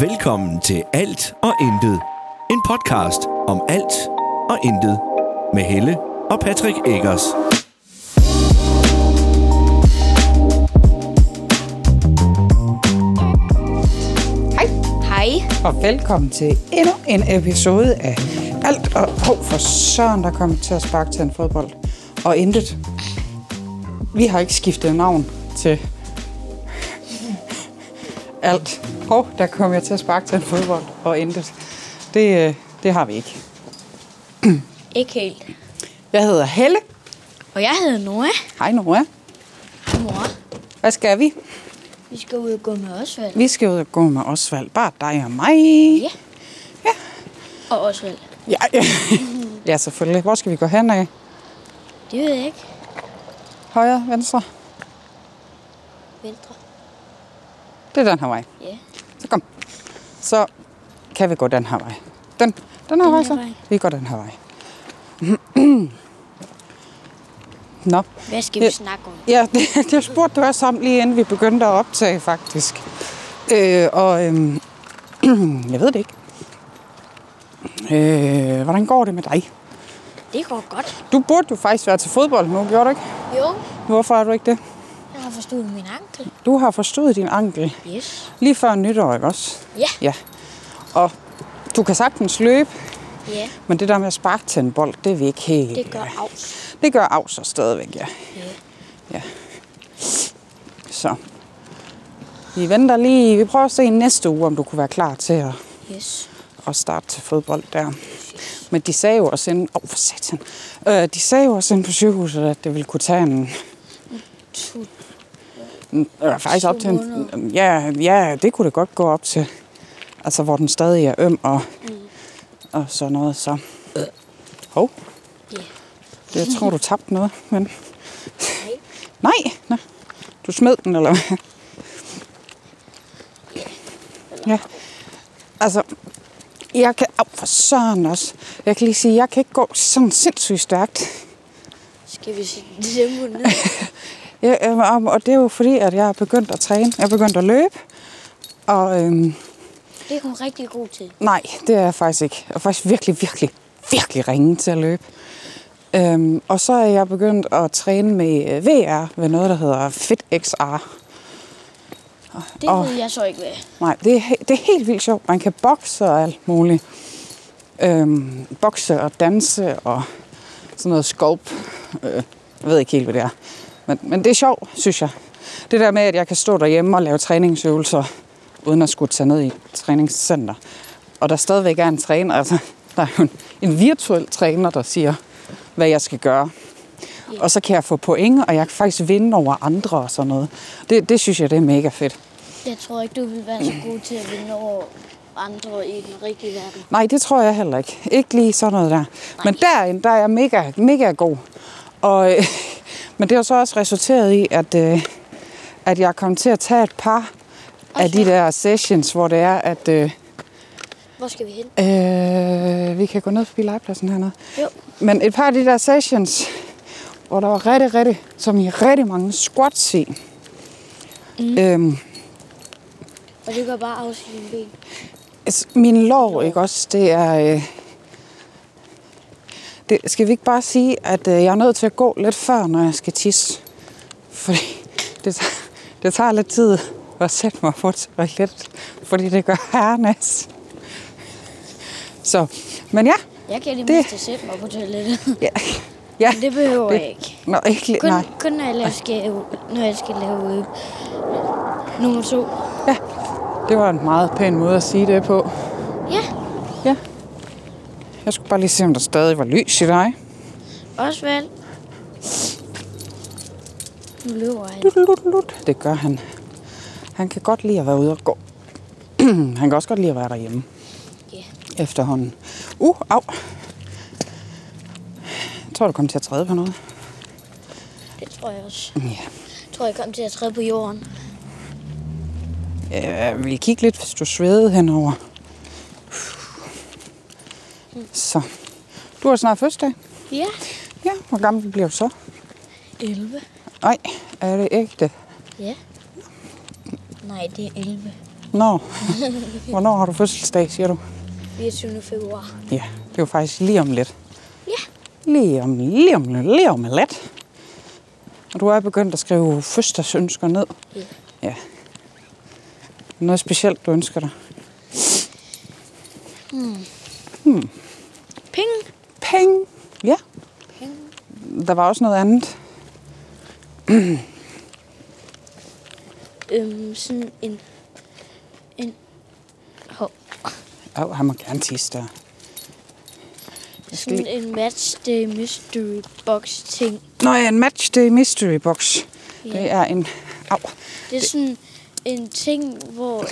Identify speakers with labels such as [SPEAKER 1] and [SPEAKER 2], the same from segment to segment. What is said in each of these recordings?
[SPEAKER 1] Velkommen til Alt og Intet. En podcast om alt og intet. Med Helle og Patrick Eggers.
[SPEAKER 2] Hej.
[SPEAKER 3] Og velkommen til endnu en episode af Alt og Hov for Søren, der kommer til at sparke til en fodbold. Og intet. Vi har ikke skiftet navn til Alt. Hov, der kommer jeg til at sparke til en fodbold. Og intet. Det, øh, det har vi ikke.
[SPEAKER 2] Ikke helt.
[SPEAKER 3] Jeg hedder Helle.
[SPEAKER 2] Og jeg hedder Noah.
[SPEAKER 3] Hej Nora.
[SPEAKER 2] Hej, mor.
[SPEAKER 3] Hvad skal vi?
[SPEAKER 2] Vi skal ud og gå med Osvald.
[SPEAKER 3] Vi skal ud og gå med Osvald. Bare dig og mig.
[SPEAKER 2] Ja. Og Osvald.
[SPEAKER 3] Ja, ja. ja selvfølgelig. Hvor skal vi gå hen af?
[SPEAKER 2] Det ved jeg ikke.
[SPEAKER 3] Højre, venstre?
[SPEAKER 2] Venstre.
[SPEAKER 3] Det er den her vej.
[SPEAKER 2] Ja.
[SPEAKER 3] Så kom. Så kan vi gå den her vej. Den, den her
[SPEAKER 2] Den
[SPEAKER 3] vej
[SPEAKER 2] her
[SPEAKER 3] så.
[SPEAKER 2] vej.
[SPEAKER 3] Vi går den her vej. Nå.
[SPEAKER 2] Hvad skal vi
[SPEAKER 3] Ja.
[SPEAKER 2] snakke om?
[SPEAKER 3] Ja, det, det spurgte du også om lige inden vi begyndte at optage, faktisk. Øh, og øhm, jeg ved det ikke. Øh, hvordan går det med dig?
[SPEAKER 2] Det går godt.
[SPEAKER 3] Du burde jo faktisk være til fodbold nu, gjorde du ikke?
[SPEAKER 2] Jo.
[SPEAKER 3] Hvorfor er du ikke det?
[SPEAKER 2] Jeg har forstået min ankel.
[SPEAKER 3] Du har forstået din ankel
[SPEAKER 2] Yes.
[SPEAKER 3] lige før nytår, ikke også?
[SPEAKER 2] Ja.
[SPEAKER 3] Ja. Og du kan sagtens løbe,
[SPEAKER 2] Ja.
[SPEAKER 3] Men det der med at sparke til en bold, det er vi ikke helt... øh,
[SPEAKER 2] Det gør afs.
[SPEAKER 3] det gør af så stadigvæk, ja.
[SPEAKER 2] Ja.
[SPEAKER 3] ja. Så. Vi venter lige. Vi prøver at se næste uge, om du kunne være klar til at,
[SPEAKER 2] Yes.
[SPEAKER 3] at starte til fodbold der. Men de sagde jo også inden... Åh, oh, for satan. Øh, de sagde jo også inde på sygehuset, at det ville kunne tage en...
[SPEAKER 2] To.
[SPEAKER 3] en øh, faktisk op
[SPEAKER 2] Mm. To
[SPEAKER 3] til en...
[SPEAKER 2] måneder.
[SPEAKER 3] Ja, ja, det kunne det godt gå op til. Altså, hvor den stadig er øm og,
[SPEAKER 2] Mm.
[SPEAKER 3] og sådan noget. Så. Hov.
[SPEAKER 2] Ja.
[SPEAKER 3] Det, Jeg tror, du tabte noget, men...
[SPEAKER 2] Nej.
[SPEAKER 3] Nej! Nå. Du smed den, eller hvad? Ja. Altså, jeg kan... Au, for søren også. Jeg kan lige sige, jeg kan ikke gå sådan sindssygt stærkt.
[SPEAKER 2] Skal vi sætte tempoet ned?
[SPEAKER 3] Jeg, øh, og- og det er jo fordi, at jeg er begyndt at træne. Jeg er begyndt at løbe. Og øhm,
[SPEAKER 2] Det er hun rigtig god til.
[SPEAKER 3] nej, det er jeg faktisk ikke. Jeg er faktisk virkelig, virkelig, virkelig ringe til at løbe. Øhm, og så er jeg begyndt at træne med øh, VR ved noget, der hedder Fit XR.
[SPEAKER 2] Det
[SPEAKER 3] Åh.
[SPEAKER 2] ved jeg så ikke, hvad.
[SPEAKER 3] Nej, det er, he- det er helt vildt sjovt. Man kan bokse og alt muligt. Øhm, bokse og danse og sådan noget scope. Øh, jeg ved ikke helt, hvad det er. Men, men det er sjovt, synes jeg. Det der med, at jeg kan stå derhjemme og lave træningsøvelser, uden at skulle tage ned i et træningscenter. Og der stadigvæk er en træner, altså der er jo en, en virtuel træner, der siger, hvad jeg skal gøre. Og så kan jeg få point, og jeg kan faktisk vinde over andre og sådan noget. Det, det synes jeg, det er mega fedt.
[SPEAKER 2] Jeg tror ikke, du vil være så god til at vinde over andre i den rigtige verden.
[SPEAKER 3] Nej, det tror jeg heller ikke. Ikke lige sådan noget der. Nej. Men derinde, der er jeg mega, mega god. Og, øh, men det har så også resulteret i, at, øh, at jeg kom til at tage et par af de der sessions, hvor det er, at øh,
[SPEAKER 2] Hvor skal vi hen?
[SPEAKER 3] øh, vi kan gå ned forbi legepladsen hernede.
[SPEAKER 2] Jo.
[SPEAKER 3] Men et par af de der sessions, hvor der var rigtig, rigtig, som i rigtig mange squats i. Mm. Øhm,
[SPEAKER 2] Og du kan bare afslutte dine ben.
[SPEAKER 3] Altså, min lår, ikke også, det er... Øh, det, skal vi ikke bare sige, at øh, jeg er nødt til at gå lidt før, når jeg skal tisse? Fordi det, tager- det tager lidt tid at sætte mig på toilettet, fordi det gør herrenas. Så, men ja,
[SPEAKER 2] Jeg kan i det,
[SPEAKER 3] Det-
[SPEAKER 2] mindste sætte mig på toilettet.
[SPEAKER 3] ja, ja.
[SPEAKER 2] Men det behøver jeg ikke.
[SPEAKER 3] Nå, ikke lige,
[SPEAKER 2] Kun,
[SPEAKER 3] nej.
[SPEAKER 2] kun når jeg laver skal, når jeg skal lave øh, nummer to.
[SPEAKER 3] Ja, det var en meget pæn måde at sige det på.
[SPEAKER 2] Ja,
[SPEAKER 3] Ja. Jeg skulle bare lige se, om der stadig var lys i dig.
[SPEAKER 2] Osvald. Nu løber han.
[SPEAKER 3] Lut, lut, lut. Det gør han. Han kan godt lide at være ude og gå. han kan også godt lide at være derhjemme
[SPEAKER 2] Ja.
[SPEAKER 3] efterhånden. Uh, au. Jeg tror, du kom til at træde på noget.
[SPEAKER 2] Det tror jeg også.
[SPEAKER 3] Ja.
[SPEAKER 2] Jeg tror, jeg kom til at træde på jorden.
[SPEAKER 3] Jeg Øh, vil kigge lidt, hvis du svedede henover. Så. Du har snart fødselsdag.
[SPEAKER 2] Ja.
[SPEAKER 3] Ja, hvor gammel bliver du så?
[SPEAKER 2] 11.
[SPEAKER 3] Nej, er det ægte?
[SPEAKER 2] Ja. Nej, det er 11.
[SPEAKER 3] Nå, hvornår har du fødselsdag, siger du?
[SPEAKER 2] 24. februar.
[SPEAKER 3] Ja, det er jo faktisk lige om lidt.
[SPEAKER 2] Ja.
[SPEAKER 3] Lige om, lige om, lidt, lige om lidt. Og du er begyndt at skrive fødselsdagsønsker ned.
[SPEAKER 2] Ja.
[SPEAKER 3] Ja. Noget specielt, du ønsker dig.
[SPEAKER 2] Penge.
[SPEAKER 3] Penge. Ja. Der var også noget andet.
[SPEAKER 2] Øhm, sådan en... En... Hov.
[SPEAKER 3] Åh, oh, han må gerne tisse der. skal
[SPEAKER 2] Sådan en match day mystery box ting.
[SPEAKER 3] Nå ja, en match, det er mystery box. Det er en... Au.
[SPEAKER 2] Det er sådan en ting, hvor øh,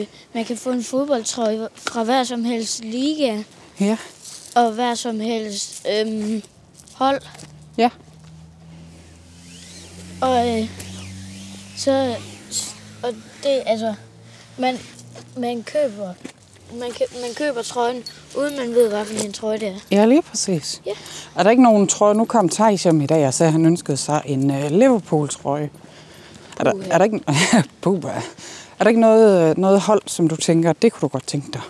[SPEAKER 2] øh, man kan få en fodboldtrøje fra hver som helst liga
[SPEAKER 3] Ja.
[SPEAKER 2] og hver som helst øh, hold.
[SPEAKER 3] Ja.
[SPEAKER 2] Og øh, så og det altså man man køber man, kø, man køber trøjen uden man ved hvad for en trøje det er.
[SPEAKER 3] Ja, lige præcis.
[SPEAKER 2] Ja.
[SPEAKER 3] Er der ikke nogen trøje? Nu kom Thijs hjem i dag og sagde, at han ønskede sig en uh, Liverpool-trøje. Er der,
[SPEAKER 2] Puha.
[SPEAKER 3] er der ikke, Puha. er der ikke noget, øh, noget hold, som du tænker, det kunne du godt tænke dig?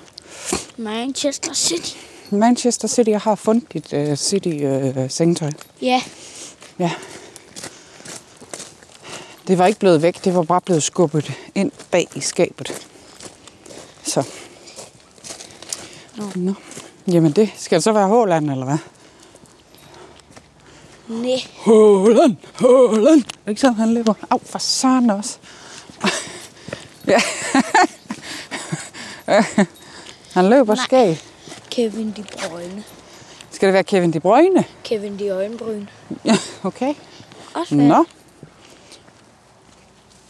[SPEAKER 2] Manchester City.
[SPEAKER 3] Manchester City jeg har fundet dit uh, City-sengetøj.
[SPEAKER 2] Ja,
[SPEAKER 3] ja. Det var ikke blevet væk, det var bare blevet skubbet ind bag i skabet. Så. Nå. Jamen det, skal det så være Håland, eller hvad?
[SPEAKER 2] nej.
[SPEAKER 3] Håland, Håland. Er det ikke sådan, han løber? Au, for søren også. ja. han løber
[SPEAKER 2] Nej.
[SPEAKER 3] skæg.
[SPEAKER 2] Kevin De Bruyne.
[SPEAKER 3] Skal det være Kevin De Bruyne?
[SPEAKER 2] Kevin De Øjenbryn.
[SPEAKER 3] Ja, okay.
[SPEAKER 2] Også hvad?
[SPEAKER 3] Nå.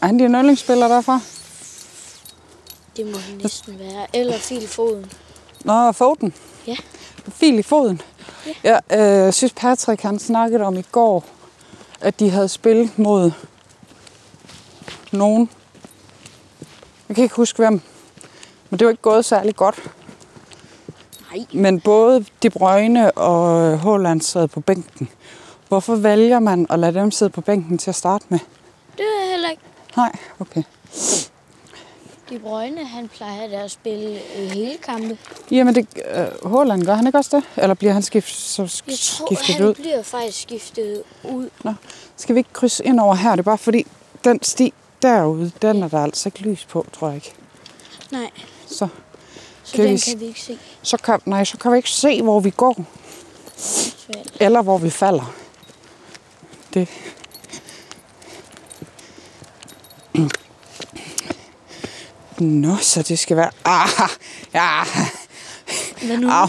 [SPEAKER 3] Er han din yndlingsspiller derfra?
[SPEAKER 2] Det må det næsten være. Eller Phil Foden.
[SPEAKER 3] Nå, Foden.
[SPEAKER 2] Ja.
[SPEAKER 3] Fil i foden. Ja. Jeg øh, synes, Patrick han snakkede om i går, at de havde spillet mod nogen. Jeg kan ikke huske hvem. Men det var ikke gået særlig godt.
[SPEAKER 2] Nej.
[SPEAKER 3] Men både De Bruyne og Håland sad på bænken. Hvorfor vælger man at lade dem sidde på bænken til at starte med?
[SPEAKER 2] Det er heller ikke.
[SPEAKER 3] Nej, okay.
[SPEAKER 2] De Bruyne, han plejer da at spille øh, hele kampe.
[SPEAKER 3] Jamen, det, øh, Håland gør han ikke også det? Eller bliver han skift, så
[SPEAKER 2] Jeg tror,
[SPEAKER 3] skiftet
[SPEAKER 2] han
[SPEAKER 3] ud?
[SPEAKER 2] bliver faktisk skiftet ud.
[SPEAKER 3] Nå, skal vi ikke krydse ind over her? Det er bare fordi, den sti derude, den er der altså ikke lys på, tror jeg ikke.
[SPEAKER 2] Nej,
[SPEAKER 3] Så,
[SPEAKER 2] så kan
[SPEAKER 3] Kan
[SPEAKER 2] den
[SPEAKER 3] vi
[SPEAKER 2] vi...
[SPEAKER 3] s-
[SPEAKER 2] kan vi ikke se.
[SPEAKER 3] så, kan, nej, så kan vi ikke se, hvor vi går,
[SPEAKER 2] Svært.
[SPEAKER 3] eller hvor vi falder. Det. Nå, så det skal være... Ah, ja,
[SPEAKER 2] Hvad nu?
[SPEAKER 3] au.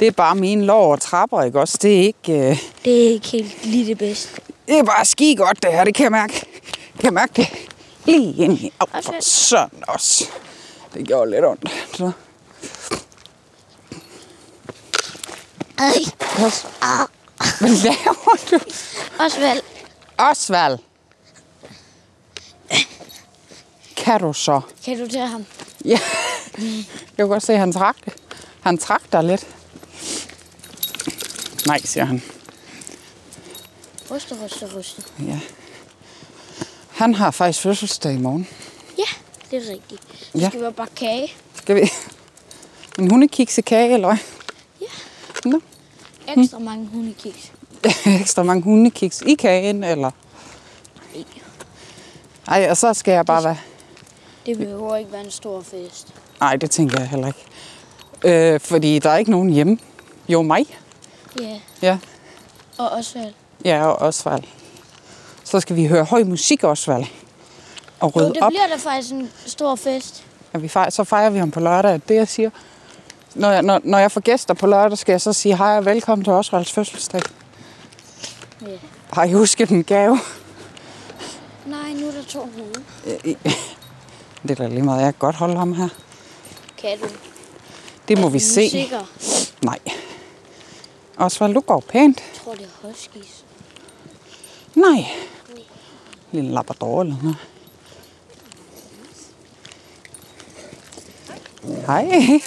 [SPEAKER 3] Det er bare mine lår og trapper, ikke også? Det er ikke... Øh,
[SPEAKER 2] Det er ikke helt lige det bedste.
[SPEAKER 3] Det er bare ski godt, det her. Det kan jeg mærke. Jeg kan mærke det. Lige ind i. Au,
[SPEAKER 2] Også
[SPEAKER 3] for
[SPEAKER 2] lidt.
[SPEAKER 3] sådan også. Det gjorde lidt ondt. Så.
[SPEAKER 2] Ej,
[SPEAKER 3] Pas. Hvad laver du?
[SPEAKER 2] Osvald.
[SPEAKER 3] Osvald. Kan du så?
[SPEAKER 2] Kan du tage ham?
[SPEAKER 3] Ja. Jeg kan godt se, at han trak det. Han trak dig lidt. Nej, siger han.
[SPEAKER 2] Ryste, ryste, ryste.
[SPEAKER 3] Ja. Han har faktisk fødselsdag i morgen.
[SPEAKER 2] Ja, det er rigtigt. Så
[SPEAKER 3] Ja.
[SPEAKER 2] skal vi bare kage.
[SPEAKER 3] Skal vi? En hundekiksekage, eller hvad?
[SPEAKER 2] Ja.
[SPEAKER 3] Nå.
[SPEAKER 2] Ekstra mange hundekiks.
[SPEAKER 3] ekstra mange hundekiks i kagen, eller...
[SPEAKER 2] Nej,
[SPEAKER 3] Ej, og så skal jeg bare være...
[SPEAKER 2] det behøver ikke være en stor fest.
[SPEAKER 3] Nej, det tænker jeg heller ikke. Øh, fordi der er ikke nogen hjemme. Jo, mig.
[SPEAKER 2] Ja,
[SPEAKER 3] Ja,
[SPEAKER 2] og Osvald.
[SPEAKER 3] ja og Osvald. Så skal vi høre høj musik, Osvald. Og
[SPEAKER 2] Jo,
[SPEAKER 3] rydde
[SPEAKER 2] det
[SPEAKER 3] op.
[SPEAKER 2] bliver da faktisk en stor fest.
[SPEAKER 3] Og vi fejrer, så fejrer vi ham på lørdag. Det, jeg siger... Når jeg, når, når jeg får gæster på lørdag, skal jeg så sige hej og velkommen til Osvalds fødselsdag.
[SPEAKER 2] Ja.
[SPEAKER 3] Har I husket en gave?
[SPEAKER 2] Nej, nu er der to hunde.
[SPEAKER 3] Det er da lige meget. Jeg kan godt holde ham her.
[SPEAKER 2] Kan du?
[SPEAKER 3] Det må vi
[SPEAKER 2] Nu
[SPEAKER 3] se.
[SPEAKER 2] Sikker.
[SPEAKER 3] Nej. Osvald, du går pænt.
[SPEAKER 2] Jeg tror, det er huskies.
[SPEAKER 3] Nej. Lille labrador eller noget. Hej.
[SPEAKER 4] Nej,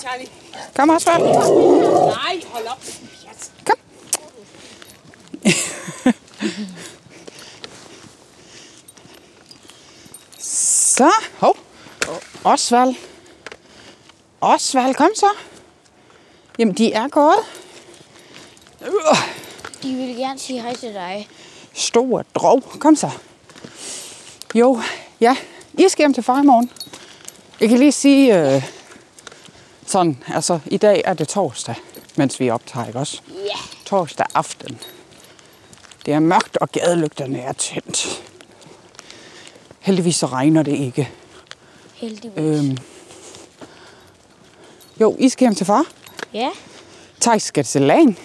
[SPEAKER 4] Charlie.
[SPEAKER 3] Kom, Osvald.
[SPEAKER 4] Nej, hold op.
[SPEAKER 3] Kom. Så, hov. Osvald. Osvald, kom så. Jamen, de er gået. Øh,
[SPEAKER 2] De vil gerne sige hej til dig.
[SPEAKER 3] Stor drog. Kom så. Jo, ja. I skal hjem til far i morgen. Jeg kan lige sige... Øh, sådan, altså, i dag er det torsdag, mens vi optager, ikke også?
[SPEAKER 2] Ja.
[SPEAKER 3] Torsdag aften. Det er mørkt, og gadelygterne er tændt. Heldigvis så regner det ikke.
[SPEAKER 2] Heldigvis.
[SPEAKER 3] Øhm. Jo, I skal hjem til far.
[SPEAKER 2] Ja.
[SPEAKER 3] Thijs skal til lagen.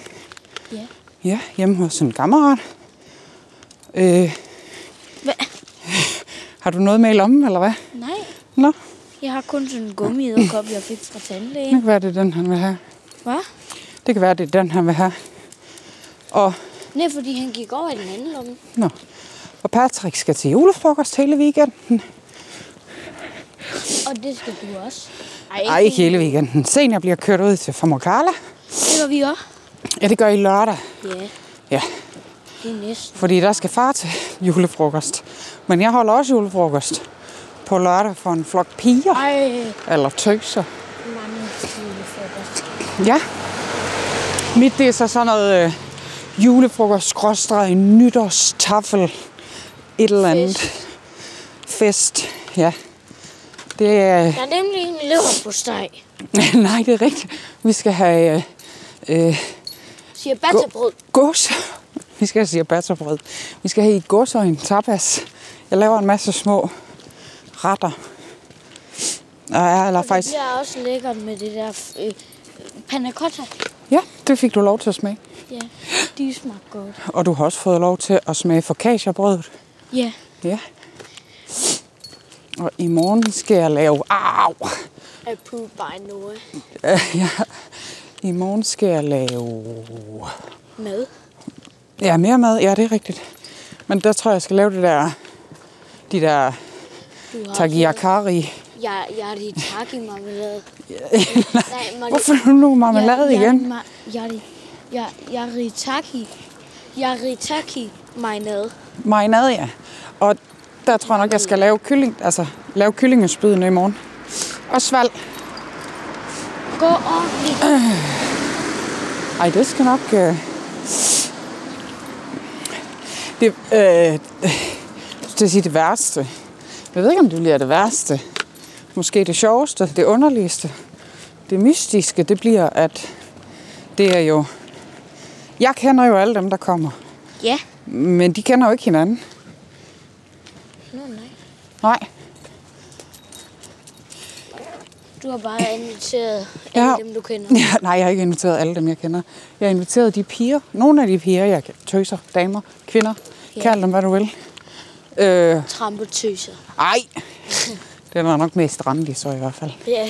[SPEAKER 2] Ja.
[SPEAKER 3] Ja, hjemme hos en kammerat. Øh,
[SPEAKER 2] Hva?
[SPEAKER 3] har du noget med i lommen, eller hvad?
[SPEAKER 2] Nej.
[SPEAKER 3] Nå,
[SPEAKER 2] Jeg har kun sådan en gummi og kop, jeg fik fra
[SPEAKER 3] det
[SPEAKER 2] tandlægen.
[SPEAKER 3] kan være, det er den, han vil have.
[SPEAKER 2] Hvad?
[SPEAKER 3] Det kan være, det er den, han vil have. Og,
[SPEAKER 2] Nej, fordi han gik over i den anden lomme.
[SPEAKER 3] nå. og Patrick skal til julefrokost hele weekenden.
[SPEAKER 2] Og det skal du også.
[SPEAKER 3] Ej, ikke hele weekenden. Senere bliver kørt ud til Famor Carla.
[SPEAKER 2] Det gør vi også.
[SPEAKER 3] Ja, det gør I lørdag.
[SPEAKER 2] Ja,
[SPEAKER 3] Ja,
[SPEAKER 2] det er næsten.
[SPEAKER 3] fordi der skal far til julefrokost. Men jeg holder også julefrokost på lørdag for en flok piger.
[SPEAKER 2] Ej,
[SPEAKER 3] Eller tøser.
[SPEAKER 2] mange julefrokost.
[SPEAKER 3] Ja. Mit det er så sådan noget øh, julefrokost, skråstreg, nytårstafel, et eller andet. Fest. Fest. Ja. Det er...
[SPEAKER 2] Der er nemlig en lever på steg.
[SPEAKER 3] Nej, det er rigtigt. Vi skal have øh, øh,
[SPEAKER 2] Siger batterbrød.
[SPEAKER 3] gås. Vi skal have ciabatterbrød. Vi skal have i gås og en tapas. Jeg laver en masse små retter. Og jeg eller
[SPEAKER 2] Det
[SPEAKER 3] faktisk...
[SPEAKER 2] bliver også lækkert med det der øh, panna cotta.
[SPEAKER 3] Ja, det fik du lov til at smage.
[SPEAKER 2] Ja, de smager godt.
[SPEAKER 3] Og du har også fået lov til at smage focaccia-brødet.
[SPEAKER 2] Ja,
[SPEAKER 3] Ja. Og i morgen skal jeg lave... Au!
[SPEAKER 2] approved by Noah.
[SPEAKER 3] Øh, ja. I morgen skal jeg lave...
[SPEAKER 2] Mad.
[SPEAKER 3] Ja, mere mad. Ja, det er rigtigt. Men der tror jeg, jeg skal lave det der... De der
[SPEAKER 2] Du har
[SPEAKER 3] tagiakari.
[SPEAKER 2] Jeg, jeg er i taki marmelade. Nej, marmelade.
[SPEAKER 3] Hvorfor er du nu marmelade
[SPEAKER 2] jeg,
[SPEAKER 3] igen?
[SPEAKER 2] Jeg, jeg, jeg, jeg er ritaki. Jeg er ritaki marinade.
[SPEAKER 3] Marinade, ja. Og der tror jeg nok, jeg skal lave, kylling, altså, lave kyllingespydene i morgen. Og svalg.
[SPEAKER 2] Gå ordentligt.
[SPEAKER 3] Ej, det skal nok... Øh... Det, øh... Jeg skulle til at sige det værste. Jeg ved ikke, om det bliver det værste. Måske det sjoveste, det underligste. Det mystiske, det bliver, at det er jo... Jeg kender jo alle dem, der kommer.
[SPEAKER 2] Ja.
[SPEAKER 3] Men de kender jo ikke hinanden.
[SPEAKER 2] Nå, nej.
[SPEAKER 3] Nej.
[SPEAKER 2] Du har bare inviteret
[SPEAKER 3] Jeg
[SPEAKER 2] alle
[SPEAKER 3] har-
[SPEAKER 2] dem, du kender.
[SPEAKER 3] Ja, nej, jeg har ikke inviteret alle dem, jeg kender. Jeg har inviteret de piger. Nogle af de piger, jeg tøser. Damer, kvinder.
[SPEAKER 2] Ja.
[SPEAKER 3] Kald dem, hvad du vil. Øh,
[SPEAKER 2] Trampetøser.
[SPEAKER 3] Ej! Den var nok mest Randi så i hvert fald.
[SPEAKER 2] Ja.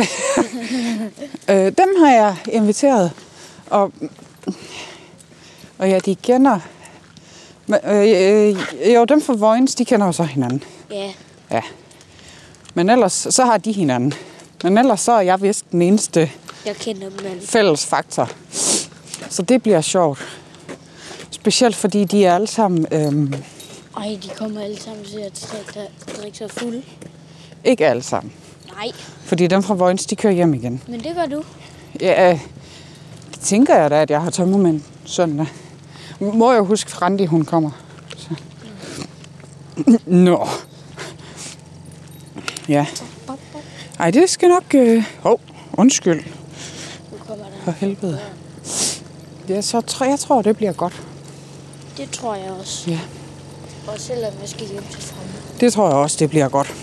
[SPEAKER 3] Øh, øh, dem har jeg inviteret. Og, og ja, de kender... Men, øh, øh, jo, dem fra Vojens, de kender jo så hinanden.
[SPEAKER 2] Ja.
[SPEAKER 3] Ja. Men ellers, så har de hinanden. Men ellers, så er jeg vist den eneste
[SPEAKER 2] Jeg kender dem alle.
[SPEAKER 3] fælles faktor. Så det bliver sjovt. Specielt fordi de er alle sammen... Øh,
[SPEAKER 2] Ej, de kommer alle sammen til at drikke, drikke sig fulde.
[SPEAKER 3] ikke alle sammen.
[SPEAKER 2] Nej,
[SPEAKER 3] Fordi dem fra Vojens, de kører hjem igen.
[SPEAKER 2] men det gør du.
[SPEAKER 3] Ja, øh, det tænker jeg da, at jeg har tømmermænd søndag. Må jeg huske, Randi hun kommer. Så. Nå. Ja. Ej, det skal nok... Øh... Hov, undskyld.
[SPEAKER 2] Nu kommer der.
[SPEAKER 3] For helvede. Ja, så tr- jeg tror, det bliver godt.
[SPEAKER 2] Det tror jeg også.
[SPEAKER 3] Ja.
[SPEAKER 2] Og selvom jeg skal hjem til fremme.
[SPEAKER 3] Det tror jeg også, det bliver godt.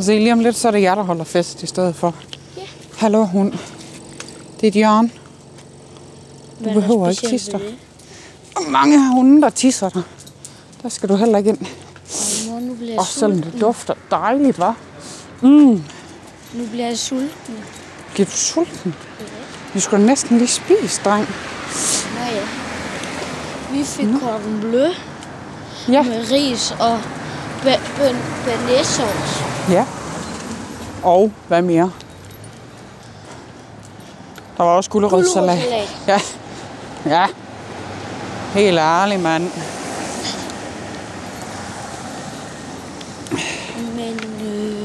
[SPEAKER 3] Se, lige om lidt, så er det jer, der holder fest i stedet for.
[SPEAKER 2] Ja.
[SPEAKER 3] Hallo, hund. Det er Jørgen.
[SPEAKER 2] Hvad er der
[SPEAKER 3] behøver ikke
[SPEAKER 2] specielt
[SPEAKER 3] tisse
[SPEAKER 2] ved
[SPEAKER 3] dig.
[SPEAKER 2] det?
[SPEAKER 3] Og mange af hunden, der tisser dig. Der skal du heller ikke ind.
[SPEAKER 2] Ej, mor, nu bliver jeg
[SPEAKER 3] Og selvom
[SPEAKER 2] sulten.
[SPEAKER 3] det dufter dejligt, hva'?
[SPEAKER 2] Nu bliver jeg sulten.
[SPEAKER 3] Bliver du sulten? Vi skulle næsten lige spise, dreng.
[SPEAKER 2] Nå ja. Vi fik cordon bleu
[SPEAKER 3] Ja.
[SPEAKER 2] med ris og ba- ba- banæssauce.
[SPEAKER 3] Ja. Og hvad mere? Der var også gulerødssalat.
[SPEAKER 2] Gulerodssalat.
[SPEAKER 3] Ja. Ja. Helt ærlig, mand.
[SPEAKER 2] øh,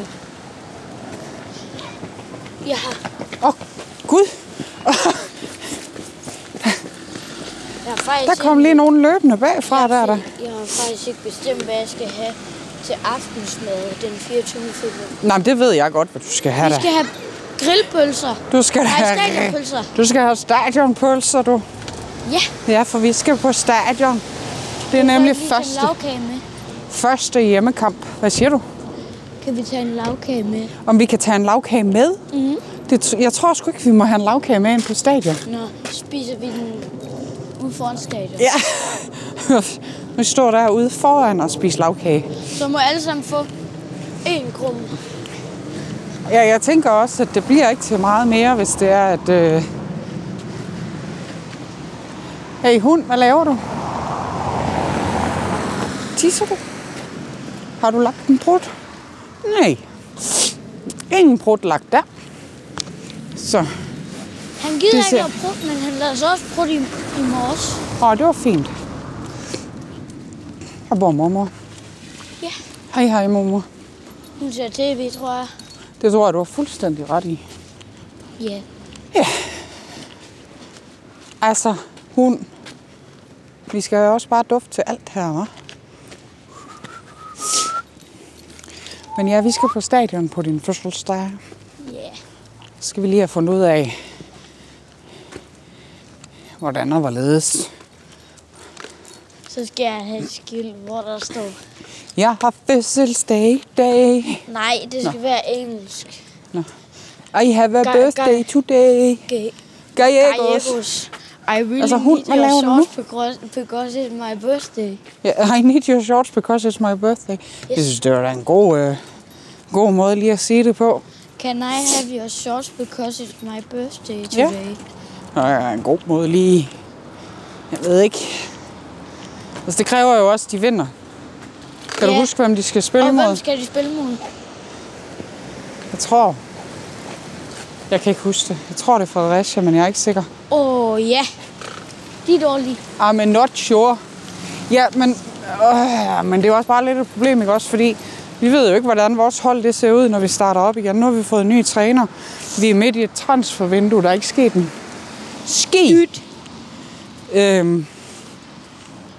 [SPEAKER 2] Jeg har,
[SPEAKER 3] Åh, oh, gud,
[SPEAKER 2] jeg har faktisk
[SPEAKER 3] der kom
[SPEAKER 2] ikke-
[SPEAKER 3] lige nogen løbende bagfra, der er der.
[SPEAKER 2] Jeg har faktisk ikke bestemt, hvad jeg skal have til aftensmad den 24. februar.
[SPEAKER 3] Nej, men det ved jeg godt, hvad du skal have
[SPEAKER 2] Vi
[SPEAKER 3] da.
[SPEAKER 2] skal have grillpølser.
[SPEAKER 3] Du skal
[SPEAKER 2] Nej,
[SPEAKER 3] have...
[SPEAKER 2] stadionpølser.
[SPEAKER 3] Du skal have stadionpølser, du.
[SPEAKER 2] Ja,
[SPEAKER 3] Ja, for vi skal på stadion. Det er nemlig
[SPEAKER 2] vi
[SPEAKER 3] første,
[SPEAKER 2] tage en lavkage med.
[SPEAKER 3] første hjemmekamp. Hvad siger du?
[SPEAKER 2] Kan vi tage en lavkage med?
[SPEAKER 3] Om vi kan tage en lavkage med?
[SPEAKER 2] Mhm.
[SPEAKER 3] Mm-hmm. Det, jeg tror sgu ikke, vi må have en lavkage med ind på stadion.
[SPEAKER 2] Nå, spiser vi den ude foran stadion.
[SPEAKER 3] Ja. nu står der ude foran og spiser lavkage.
[SPEAKER 2] Så må alle sammen få en krumme.
[SPEAKER 3] Ja, jeg tænker også, at det bliver ikke til meget mere, hvis det er, at... Øh... Hey hund, hvad laver du? Tisser du? Har du lagt en brud? Nej. Ingen brud lagt der. Så.
[SPEAKER 2] Han gider
[SPEAKER 3] Det
[SPEAKER 2] ikke
[SPEAKER 3] ser-
[SPEAKER 2] at prøve, men han lader sig også prøve i, i morges.
[SPEAKER 3] Åh, det var fint. Her bor mormor.
[SPEAKER 2] Ja.
[SPEAKER 3] Hej, hej, mormor.
[SPEAKER 2] Hun ser tv, tror jeg.
[SPEAKER 3] Det tror jeg, du har fuldstændig ret i.
[SPEAKER 2] Ja.
[SPEAKER 3] Altså, hund. Vi skal jo også bare dufte til alt her, hva'? Men ja, vi skal på stadion på din fødselsdag.
[SPEAKER 2] Ja.
[SPEAKER 3] Så skal vi lige have fundet ud af, hvordan og hvorledes.
[SPEAKER 2] Så skal jeg have et skilt, hvor der står...
[SPEAKER 3] Jeg har fødselsdag i dag.
[SPEAKER 2] Nej, det skal Nå. være engelsk.
[SPEAKER 3] I have a
[SPEAKER 2] Gør-
[SPEAKER 3] birthday today.
[SPEAKER 2] Okay.
[SPEAKER 3] Gallegos.
[SPEAKER 2] Gallegos. I really
[SPEAKER 3] Altså, hund,
[SPEAKER 2] need
[SPEAKER 3] hvad
[SPEAKER 2] your
[SPEAKER 3] laver du
[SPEAKER 2] sauce because, because it's my birthday.
[SPEAKER 3] Yeah, I need your shorts because it's my birthday. Yes. Jeg synes, det var da en god, øh, god måde lige at sige det på.
[SPEAKER 2] Can I have your shorts because it's my birthday
[SPEAKER 3] Ja.
[SPEAKER 2] today?
[SPEAKER 3] Nej, en god måde lige... Jeg ved ikke. Altså, det kræver jo også, at de vinder. Kan
[SPEAKER 2] Ja.
[SPEAKER 3] du huske, hvem de skal spille
[SPEAKER 2] Og hvem
[SPEAKER 3] mod?
[SPEAKER 2] skal de spille mod?
[SPEAKER 3] Jeg tror... Jeg kan ikke huske det. Jeg tror, det er Fredericia, men jeg er ikke sikker.
[SPEAKER 2] Åh, oh, ja. De er dårlige.
[SPEAKER 3] I'm not sure. Ja, men, øh, men det er jo også bare lidt et problem, ikke også? Fordi vi ved jo ikke, hvordan vores hold det ser ud, når vi starter op igen. Nu har vi fået en ny træner. Vi er midt i et transfervindue, der er ikke sket en ski. Øhm,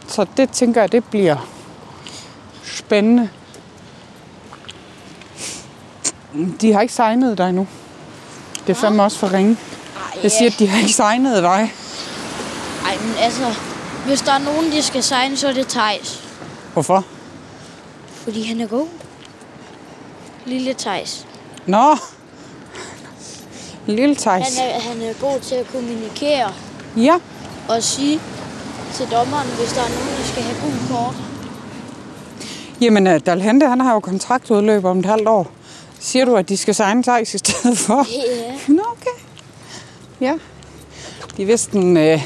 [SPEAKER 3] så det tænker jeg, det bliver spændende. De har ikke signet dig nu. Det er fandme også for ringe.
[SPEAKER 2] Ej,
[SPEAKER 3] Jeg siger, at de har ikke signet dig.
[SPEAKER 2] Ej, men altså, hvis der er nogen, de skal signe, så er det Thijs.
[SPEAKER 3] Hvorfor?
[SPEAKER 2] Fordi han er god. Lille Thijs.
[SPEAKER 3] Nå. Lille Thijs.
[SPEAKER 2] Han er, han er god til at kommunikere
[SPEAKER 3] Ja.
[SPEAKER 2] og sige til dommeren, hvis der er nogen, der skal have gul kort.
[SPEAKER 3] Jamen, øh, Dalhente, han har jo kontraktudløb om et halvt år. Siger du, at de skal signe Thijs i stedet for?
[SPEAKER 2] Ja.
[SPEAKER 3] Nå, okay. Ja. De er vist en, øh,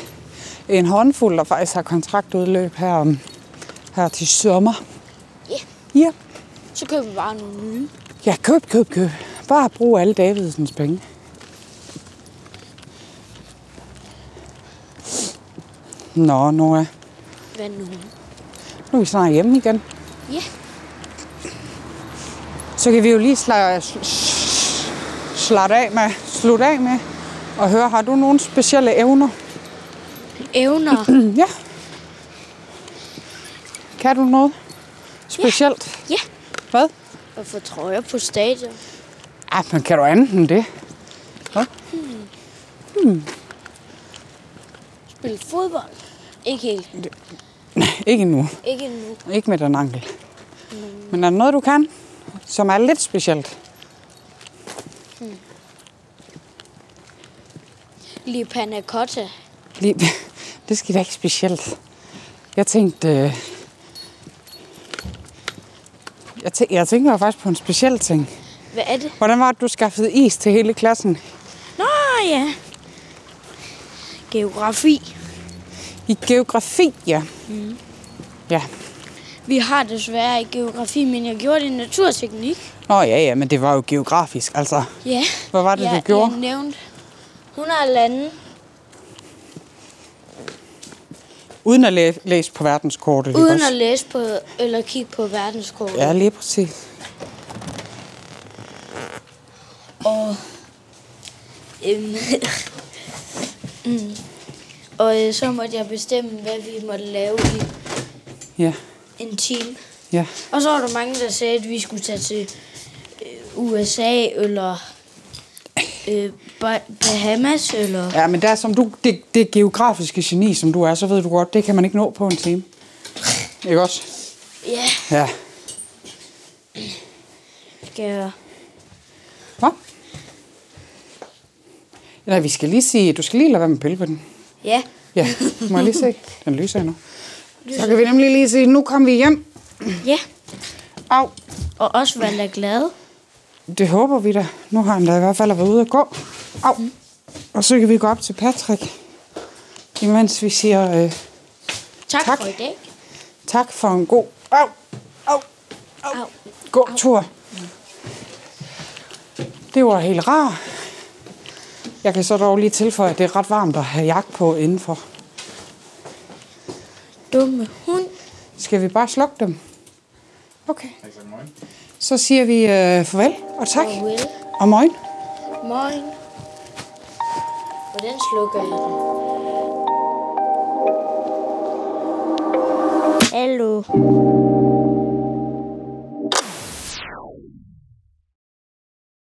[SPEAKER 3] en håndfuld, der faktisk har kontraktudløb her, om- her til sommer.
[SPEAKER 2] Ja.
[SPEAKER 3] Ja.
[SPEAKER 2] Så køber vi bare nogle nye.
[SPEAKER 3] Ja, køb, køb, køb. Bare brug alle Davidsens penge. Nå, Nora.
[SPEAKER 2] Hvad nu?
[SPEAKER 3] Nu er vi snart hjemme igen.
[SPEAKER 2] Ja.
[SPEAKER 3] Så kan vi jo lige sla- sl- sl- slatte af med, slutte af med og høre, har du nogle specielle evner?
[SPEAKER 2] Evner.
[SPEAKER 3] Mm, ja. Kan du noget specielt?
[SPEAKER 2] ja.
[SPEAKER 3] Hvad?
[SPEAKER 2] Og få trøjer på stadion.
[SPEAKER 3] Ah, men kan du andet end det?
[SPEAKER 2] Spille fodbold. Ikke helt.
[SPEAKER 3] Ikke endnu.
[SPEAKER 2] Ikke endnu.
[SPEAKER 3] Ikke med den ankel. Men er der noget, du kan, som er lidt specielt?
[SPEAKER 2] Lige panna cotta.
[SPEAKER 3] Lige, det skal da ikke specielt. Jeg tænkte... Øh, jeg, tæ- jeg tænker faktisk på en speciel ting.
[SPEAKER 2] Hvad er det?
[SPEAKER 3] Hvordan var det, du skaffede is til hele klassen?
[SPEAKER 2] Nå ja. Geografi.
[SPEAKER 3] I geografi, ja. Mm. Ja.
[SPEAKER 2] Vi har desværre ikke geografi, men jeg gjorde det i naturteknik.
[SPEAKER 3] Nå ja, ja, men det var jo geografisk, altså.
[SPEAKER 2] Ja.
[SPEAKER 3] Hvad var det,
[SPEAKER 2] jeg,
[SPEAKER 3] du gjorde?
[SPEAKER 2] Jeg nævnte 100 lande.
[SPEAKER 3] Uden at læ- læse på verdenskortet. ikke
[SPEAKER 2] Uden
[SPEAKER 3] også?
[SPEAKER 2] at læse på, eller kigge på verdenskortet.
[SPEAKER 3] Ja, lige præcis.
[SPEAKER 2] Og Øhm. mm. Og øh, så måtte jeg bestemme, hvad vi måtte lave i
[SPEAKER 3] Ja,
[SPEAKER 2] en time.
[SPEAKER 3] ja,
[SPEAKER 2] Og så var der mange, der sagde, at vi skulle tage til øh, USA eller øh, Ba- Bahamas. Eller...
[SPEAKER 3] Ja, men der, er som du, det, det geografiske geni, som du er, så ved du godt, det kan man ikke nå på en time. Ikke også?
[SPEAKER 2] Ja,
[SPEAKER 3] Ja.
[SPEAKER 2] skal jeg...
[SPEAKER 3] Hva? Nej, vi skal lige sige, du skal lige lade være med at pille på den.
[SPEAKER 2] Ja,
[SPEAKER 3] Ja, må jeg lige se? Den lyser endnu. Så kan vi nemlig lige sige, nu kom vi hjem.
[SPEAKER 2] ja.
[SPEAKER 3] Au,
[SPEAKER 2] Og også være lidt glade.
[SPEAKER 3] det håber vi da. Nu har han da i hvert fald været ude at gå. Au. Og så kan vi gå op til Patrick, imens vi siger øh,
[SPEAKER 2] Tak,
[SPEAKER 3] Tak.
[SPEAKER 2] tak. for i dag.
[SPEAKER 3] tak for en god au, au,
[SPEAKER 2] Au.
[SPEAKER 3] god tur. Det var helt rart. Jeg kan så dog lige tilføje, at det er ret varmt at have jakke på indenfor.
[SPEAKER 2] Dumme hund.
[SPEAKER 3] Skal vi bare slukke dem? Okay. Så siger vi øh, farvel og tak.
[SPEAKER 2] Og Will.
[SPEAKER 3] Og morgen.
[SPEAKER 2] Morgen. Hvordan slukker jeg den? Hallo.